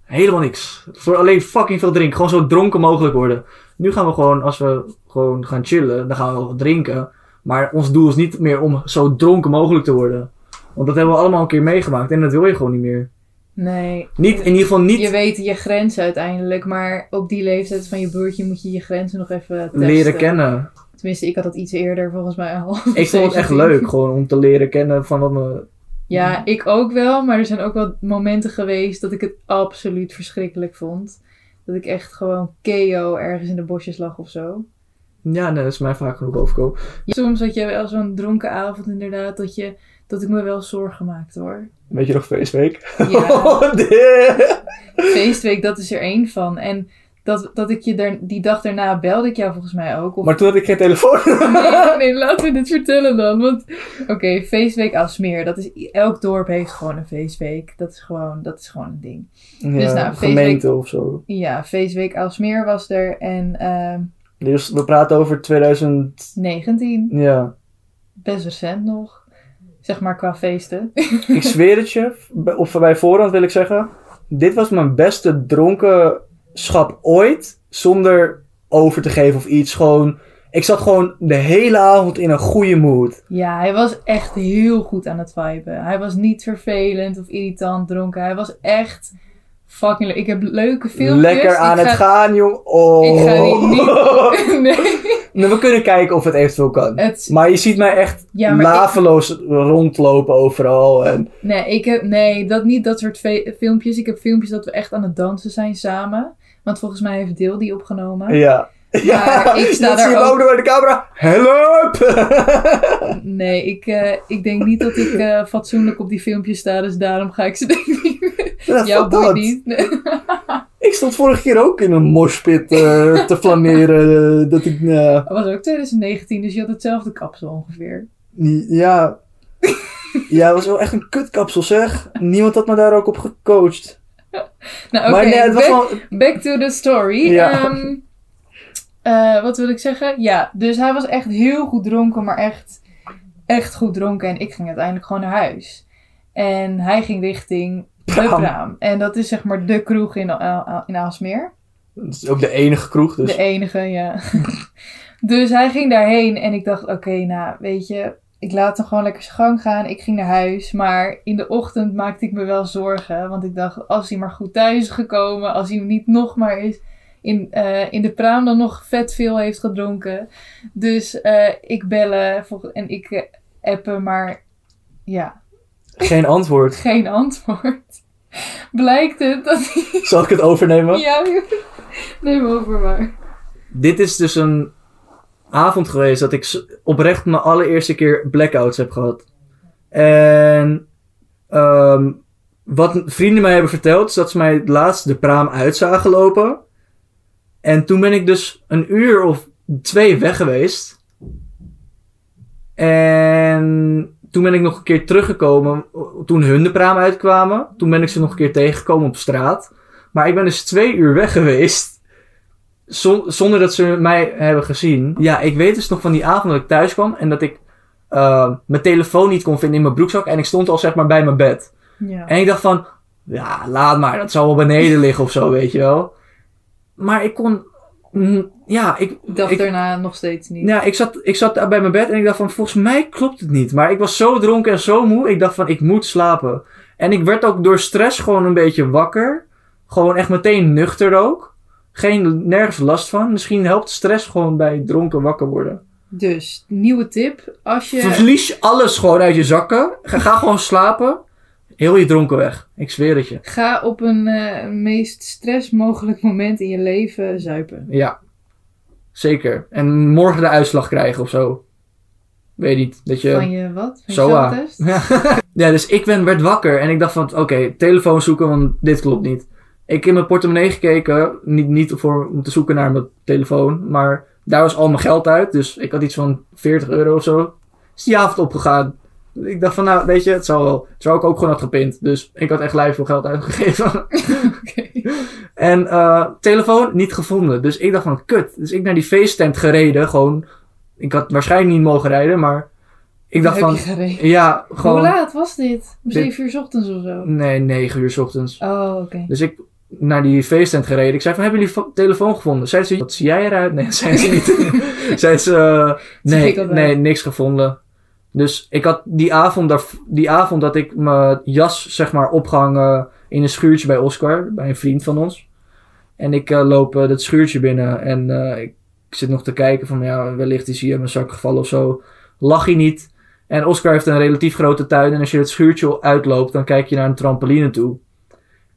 Speaker 2: Helemaal niks. Voor alleen fucking veel drinken. Gewoon zo dronken mogelijk worden. Nu gaan we gewoon, als we gewoon gaan chillen, dan gaan we wel wat drinken. Maar ons doel is niet meer om zo dronken mogelijk te worden. Want dat hebben we allemaal een keer meegemaakt en dat wil je gewoon niet meer.
Speaker 1: Nee.
Speaker 2: Niet, in ieder geval
Speaker 1: Je
Speaker 2: niet
Speaker 1: weet je grenzen uiteindelijk. Maar op die leeftijd van je broertje moet je je grenzen nog even testen.
Speaker 2: leren kennen.
Speaker 1: Tenminste, ik had dat iets eerder volgens mij al.
Speaker 2: Ik
Speaker 1: [laughs]
Speaker 2: vond het echt
Speaker 1: 17.
Speaker 2: leuk, gewoon om te leren kennen van wat me...
Speaker 1: Ja, ik ook wel. Maar er zijn ook wel momenten geweest dat ik het absoluut verschrikkelijk vond. Dat ik echt gewoon KO ergens in de bosjes lag of zo.
Speaker 2: Ja, nee, dat is mij vaak genoeg overkomen.
Speaker 1: Soms had je wel zo'n dronken avond inderdaad, dat, je, dat ik me wel zorgen maakte hoor.
Speaker 2: Weet je nog feestweek?
Speaker 1: [laughs] Ja,
Speaker 2: [laughs] Oh, damn.
Speaker 1: feestweek, dat is er één van. En dat, dat ik je daar, die dag daarna belde ik jou volgens mij ook. Of...
Speaker 2: Maar toen had ik geen telefoon. [laughs]
Speaker 1: Nee, nee, laat me dit vertellen dan. Want oké, feestweek als meer. Dat is, elk dorp heeft gewoon een feestweek. Dat is gewoon, dat is gewoon een ding.
Speaker 2: ja,
Speaker 1: nou,
Speaker 2: gemeente of zo.
Speaker 1: Ja, feestweek als meer was er. En ehm,
Speaker 2: Dus we praten over 2000.
Speaker 1: 19,
Speaker 2: Ja.
Speaker 1: best recent nog. Zeg maar qua feesten.
Speaker 2: Ik zweer het je, bij- op, bij voorhand wil ik zeggen. Dit was mijn beste dronkenschap ooit. Zonder over te geven of iets. Gewoon. Ik zat gewoon de hele avond in een goede mood.
Speaker 1: Ja, hij was echt heel goed aan het viben. Hij was niet vervelend of irritant dronken. Hij was echt fucking leuk. Ik heb leuke filmpjes.
Speaker 2: Lekker aan
Speaker 1: ik
Speaker 2: het
Speaker 1: ga-
Speaker 2: gaan, jong. Oh.
Speaker 1: Ik ga die [laughs]
Speaker 2: [laughs]
Speaker 1: nee.
Speaker 2: Nou, we kunnen kijken of het eventueel kan.
Speaker 1: Het,
Speaker 2: Maar je ziet mij echt
Speaker 1: Eh, ja, maar ik,
Speaker 2: laveloos rondlopen overal. En
Speaker 1: nee, ik heb, nee, dat niet dat soort fe- filmpjes. Ik heb filmpjes dat we echt aan het dansen zijn samen. Want volgens mij heeft Deel die opgenomen.
Speaker 2: ja. [laughs]
Speaker 1: Maar ik sta
Speaker 2: dat
Speaker 1: daar
Speaker 2: zie je me
Speaker 1: ook-
Speaker 2: ook door de camera. [laughs] Help!
Speaker 1: Nee, ik, eh, ik denk niet dat ik eh, fatsoenlijk op die filmpjes sta. Dus daarom ga ik ze [laughs] denk ik niet meer.
Speaker 2: Ja,
Speaker 1: Jouw
Speaker 2: fuck
Speaker 1: boeit
Speaker 2: dat.
Speaker 1: niet. Nee.
Speaker 2: Ik stond vorige keer ook in een moshpit eh,
Speaker 1: [laughs]
Speaker 2: te flaneren. eh, dat ik, eh,
Speaker 1: Dat was ook 2019, dus je had hetzelfde kapsel ongeveer.
Speaker 2: niet-
Speaker 1: [laughs]
Speaker 2: ja... Ja, het was wel echt een kutkapsel, zeg. Niemand had me daar ook op gecoacht.
Speaker 1: Nou, oké.
Speaker 2: maar nee, het was
Speaker 1: back-
Speaker 2: wel...
Speaker 1: Back to the story.
Speaker 2: Ja.
Speaker 1: Ehm, eh, wat wil ik zeggen? Ja, dus hij was echt heel goed dronken, maar echt echt goed dronken en ik ging uiteindelijk gewoon naar huis. En hij ging richting de
Speaker 2: Praam.
Speaker 1: Praam. En dat is zeg maar de kroeg in, Aalsmeer. in Aalsmeer.
Speaker 2: Dat is ook de enige kroeg, dus...
Speaker 1: De enige, ja. [laughs] dus hij ging daarheen en ik dacht, oké, nou, weet je, ik laat hem gewoon lekker zijn gang gaan. Ik ging naar huis, maar in de ochtend maakte ik me wel zorgen. Want ik dacht, als hij maar goed thuis is gekomen, als hij niet nog maar is... In, eh, in de praam dan nog vet veel heeft gedronken. Dus eh, ik bellen vol- en ik eh, appen, maar ja, [laughs] e-
Speaker 2: Geen antwoord.
Speaker 1: geen antwoord. [laughs] Blijkt het dat hij...
Speaker 2: Zal ik het overnemen?
Speaker 1: Ja, [laughs] neem over maar.
Speaker 2: Dit is dus een avond geweest dat ik s- oprecht mijn allereerste keer blackouts heb gehad. En ehm, wat vrienden mij hebben verteld, is dat ze mij het laatst de praam uit zagen lopen. En toen ben ik dus een uur of twee weg geweest. En toen ben ik nog een keer teruggekomen toen hun de praam uitkwamen. Toen ben ik ze nog een keer tegengekomen op straat. Maar ik ben dus twee uur weg geweest. Zon- zonder dat ze mij hebben gezien. Ja, ik weet dus nog van die avond dat ik thuis kwam en dat ik eh, mijn telefoon niet kon vinden in mijn broekzak. En ik stond al zeg maar bij mijn bed.
Speaker 1: Ja.
Speaker 2: En ik dacht van, ja, laat maar, dat zal wel beneden [laughs] liggen of zo, weet je wel. Maar ik kon, mm, ja, ik,
Speaker 1: dag
Speaker 2: ik,
Speaker 1: daarna nog steeds niet.
Speaker 2: ja, ik, zat, ik zat daar bij mijn bed en ik dacht van, volgens mij klopt het niet. Maar ik was zo dronken en zo moe, ik dacht van, ik moet slapen. En ik werd ook door stress gewoon een beetje wakker. Gewoon echt meteen nuchter ook. Geen, nergens last van. Misschien helpt stress gewoon bij dronken wakker worden.
Speaker 1: Dus, nieuwe tip. Als je...
Speaker 2: Verlies alles gewoon uit je zakken. Ga, ga gewoon slapen. Heel je dronken weg. Ik zweer het je.
Speaker 1: Ga op een eh, meest stress mogelijk moment in je leven zuipen.
Speaker 2: Ja, zeker. En morgen de uitslag krijgen of zo. Weet niet. Dat je.
Speaker 1: Van je wat? Van je
Speaker 2: Zoa.
Speaker 1: zelftest?
Speaker 2: ja, dus ik ben, werd wakker en ik dacht van, oké, telefoon zoeken, want dit klopt niet. Ik in mijn portemonnee gekeken, niet, niet voor, om te zoeken naar mijn telefoon, maar daar was al mijn geld uit. Dus ik had iets van 40 euro of zo. Is die avond opgegaan. Ik dacht van, nou, weet je, het zal wel. Terwijl ik ook gewoon had gepind. Dus ik had echt lijf veel geld uitgegeven.
Speaker 1: [laughs]
Speaker 2: [laughs]
Speaker 1: Oké.
Speaker 2: En eh, telefoon niet gevonden. Dus ik dacht van, kut. Dus ik naar die feesttent gereden, gewoon. Ik had waarschijnlijk niet mogen rijden, maar... Ik dacht
Speaker 1: Heb je
Speaker 2: van,
Speaker 1: gereden?
Speaker 2: ja,
Speaker 1: Hoe
Speaker 2: gewoon...
Speaker 1: laat was dit? Om
Speaker 2: Dit-
Speaker 1: zeven uur 's ochtends of zo?
Speaker 2: Nee, negen uur 's ochtends.
Speaker 1: Oh, oké.
Speaker 2: Dus ik naar die feesttent gereden. Ik zei van, hebben jullie vo- telefoon gevonden? Zei ze, wat zie jij eruit? Nee, [laughs] zei ze niet. zei ze, eh, nee,
Speaker 1: ik al wel.
Speaker 2: nee, niks gevonden. Dus ik had die avond, daar, die avond dat ik mijn jas, zeg maar, opgehangen in een schuurtje bij Oscar, bij een vriend van ons. En ik eh, loop eh, dat schuurtje binnen en eh, ik zit nog te kijken van, ja, wellicht is hij in mijn zak gevallen of zo. Lach hij niet. En Oscar heeft een relatief grote tuin en als je het schuurtje uitloopt, dan kijk je naar een trampoline toe.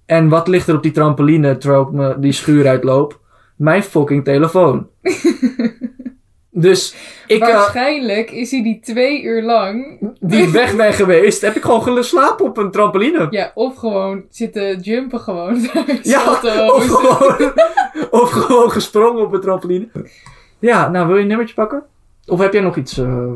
Speaker 2: En wat ligt er op die trampoline terwijl ik me die schuur uitloop? Mijn fucking
Speaker 1: [laughs]
Speaker 2: telefoon. dus ik, eh,
Speaker 1: Waarschijnlijk is hij die twee uur lang...
Speaker 2: die weg ben geweest, heb ik gewoon geslapen op een trampoline.
Speaker 1: Ja, of gewoon zitten jumpen gewoon. [laughs]
Speaker 2: Ja,
Speaker 1: Oh,
Speaker 2: of gewoon, [laughs] of gewoon gesprongen op een trampoline. Ja, nou wil je een nummertje pakken? Of heb jij nog iets? eh,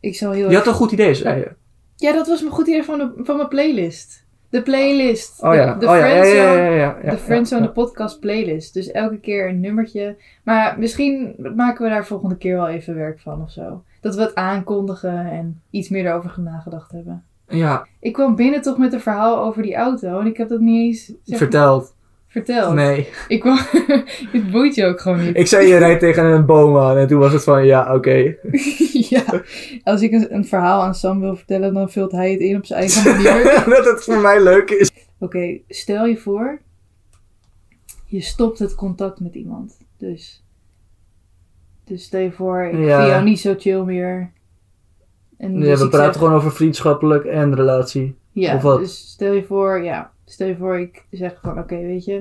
Speaker 1: Ik zal heel
Speaker 2: je had een goed idee, zei je.
Speaker 1: Ja, dat was mijn goed idee van, de, van mijn playlist. De playlist.
Speaker 2: Oh ja,
Speaker 1: De, de
Speaker 2: oh ja, ja,
Speaker 1: friendzone.
Speaker 2: ja, ja, ja, ja,
Speaker 1: de Friends
Speaker 2: ja,
Speaker 1: on
Speaker 2: ja.
Speaker 1: the Podcast playlist. Dus elke keer een nummertje. Maar misschien maken we daar volgende keer wel even werk van of zo. Dat we het aankondigen en iets meer erover gaan nagedacht hebben.
Speaker 2: Ja,
Speaker 1: Ik kwam binnen toch met een verhaal over die auto en ik heb dat niet eens zeg-
Speaker 2: verteld.
Speaker 1: verteld.
Speaker 2: Nee.
Speaker 1: Ik kwam... [laughs] het boeit je ook gewoon
Speaker 2: [laughs]
Speaker 1: niet.
Speaker 2: Ik zei je rijdt tegen een boom aan en toen was het van ja, oké.
Speaker 1: ja, als ik een, een verhaal aan Sam wil vertellen, dan vult hij het in op zijn
Speaker 2: [laughs]
Speaker 1: eigen manier.
Speaker 2: dat het voor mij leuk is.
Speaker 1: Oké, stel je voor, je stopt het contact met iemand. Dus, dus stel je voor, ik
Speaker 2: Ja.
Speaker 1: vind jou niet zo chill meer. En
Speaker 2: Ja,
Speaker 1: dus
Speaker 2: we
Speaker 1: ik
Speaker 2: praten
Speaker 1: zeg-
Speaker 2: gewoon over vriendschappelijk en relatie.
Speaker 1: Ja,
Speaker 2: of wat?
Speaker 1: dus stel je voor, ja, stel je voor, ik zeg van, oké, weet je,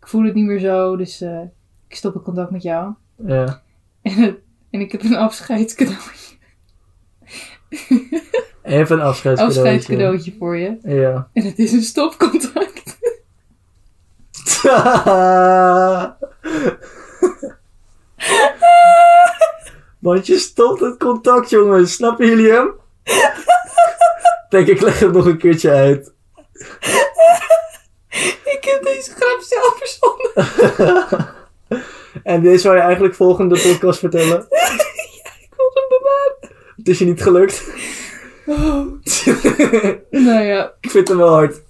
Speaker 1: ik voel het niet meer zo, dus eh, ik stop het contact met jou. [laughs]
Speaker 2: Ja.
Speaker 1: En, en ik heb een afscheidscadeautje,
Speaker 2: Even een afscheidscadeautje.
Speaker 1: afscheidscadeautje voor je.
Speaker 2: Ja. [laughs]
Speaker 1: En het is een stopcontact. [laughs]
Speaker 2: Want je stopt het contact, jongens. Snappen jullie hem?
Speaker 1: [laughs]
Speaker 2: Ik Denk ik leg het nog een keertje uit.
Speaker 1: ik heb deze grap zelf verzonnen. [laughs]
Speaker 2: en deze zou je eigenlijk volgende podcast vertellen.
Speaker 1: ik wilde hem bewaren.
Speaker 2: Het is je niet gelukt. Oh.
Speaker 1: Nou ja,
Speaker 2: [laughs] ik vind hem wel hard.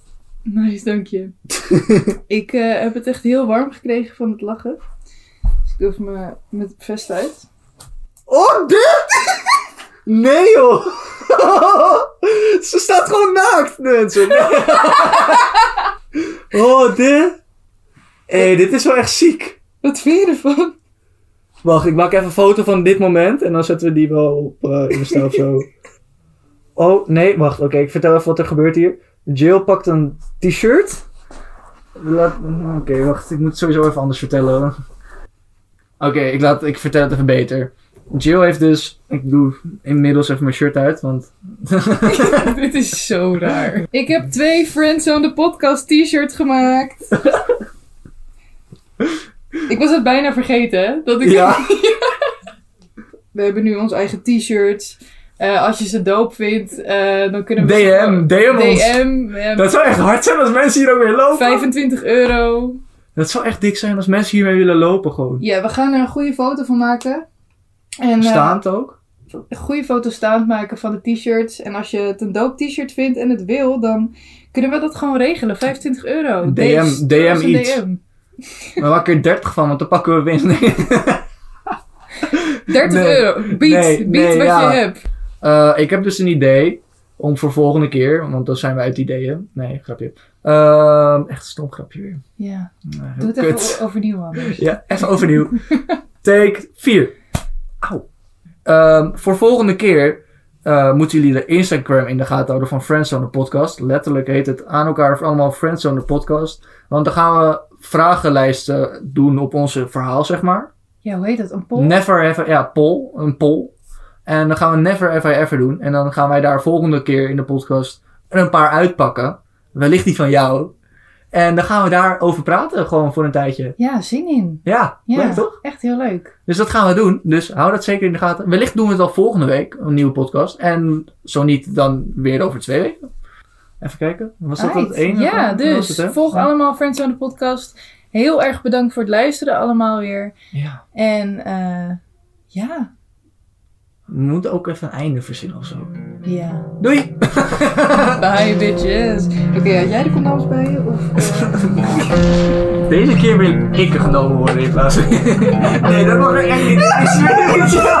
Speaker 1: nice, dank je. ik eh, heb het echt heel warm gekregen van het lachen. Dus ik doe even mijn- met het vest uit.
Speaker 2: Oh, dit! Nee, joh! [laughs] Ze staat gewoon naakt, mensen. Oh, dit! Hé, hey, dit is wel echt ziek.
Speaker 1: Wat vind je ervan?
Speaker 2: Wacht, ik maak even een foto van dit moment en dan zetten we die wel op eh Insta of zo. Oh, nee, wacht. Oké, ik vertel even wat er gebeurt hier. Jill pakt een t-shirt. Laat- Oké, wacht. Ik moet het sowieso even anders vertellen. Oké, ik, laat- ik vertel het even beter. Jill heeft dus... Ik doe inmiddels even mijn shirt uit, want...
Speaker 1: Dit is zo raar. Ik heb twee Friends on the Podcast t-shirts gemaakt. ik was het bijna vergeten, hè, dat ik...
Speaker 2: Ja.
Speaker 1: [laughs] We hebben nu ons eigen t-shirts. Eh, als je ze doop vindt, eh, dan
Speaker 2: [laughs]
Speaker 1: kunnen we...
Speaker 2: DM, DM ons.
Speaker 1: DM, eh,
Speaker 2: Dat zou echt hard zijn als mensen hier ook weer lopen.
Speaker 1: 25 euro.
Speaker 2: Dat zou echt dik zijn als mensen hiermee willen lopen gewoon.
Speaker 1: Ja, we gaan er een goede foto van maken. En, eh,
Speaker 2: Staand ook.
Speaker 1: een goede foto staand maken van de t-shirts. En als je het een doop t-shirt vindt en het wil, dan kunnen we dat gewoon regelen. 25 euro.
Speaker 2: DM,
Speaker 1: Deze-
Speaker 2: DM
Speaker 1: dat is een
Speaker 2: iets.
Speaker 1: DM.
Speaker 2: Maar maak er 30 van, want dan pakken we winst. Nee.
Speaker 1: 30
Speaker 2: Nee.
Speaker 1: euro. Bied,
Speaker 2: Nee,
Speaker 1: bied
Speaker 2: nee,
Speaker 1: wat
Speaker 2: ja.
Speaker 1: je hebt.
Speaker 2: Eh, ik heb dus een idee om voor volgende keer, want dan zijn we uit ideeën. Nee, grapje. Ehm, echt een stom grapje weer.
Speaker 1: Ja,
Speaker 2: Nou, heel
Speaker 1: doe het even
Speaker 2: kut.
Speaker 1: o- overnieuw anders.
Speaker 2: [laughs] Ja,
Speaker 1: [laughs]
Speaker 2: even overnieuw. Take 4. Auw. Ehm, voor volgende keer eh, moeten jullie de Instagram in de gaten houden van Friendzone de podcast. Letterlijk heet het aan elkaar allemaal Friendzone de podcast. Want dan gaan we vragenlijsten doen op onze verhaal, zeg maar.
Speaker 1: Ja, hoe heet dat? Een poll?
Speaker 2: Never ever, ja, poll, een poll. En dan gaan we never ever ever doen. En dan gaan wij daar volgende keer in de podcast er een paar uitpakken. Wellicht die van jou. En dan gaan we daarover praten, gewoon voor een tijdje.
Speaker 1: Ja, zin in.
Speaker 2: Ja,
Speaker 1: Ja,
Speaker 2: leuk toch?
Speaker 1: echt heel leuk.
Speaker 2: Dus dat gaan we doen. Dus hou dat zeker in de gaten. Wellicht doen we het al volgende week, een nieuwe podcast. En zo niet, dan weer over twee weken. Even kijken. Was dat het
Speaker 1: Right.
Speaker 2: ene?
Speaker 1: Ja,
Speaker 2: Dat
Speaker 1: dus
Speaker 2: was het, hè?
Speaker 1: volg
Speaker 2: Ja.
Speaker 1: allemaal Friends on the Podcast. Heel erg bedankt voor het luisteren allemaal weer.
Speaker 2: Ja.
Speaker 1: En eh, ja,
Speaker 2: We moeten ook even een einde verzinnen of zo.
Speaker 1: ja.
Speaker 2: Doei!
Speaker 1: Bye bitches. Oké, had jij de condooms bij je? Of,
Speaker 2: [laughs] Deze keer wil ik genomen worden in plaats van... Nee, dat mag ik echt niet. Ik zweer het je.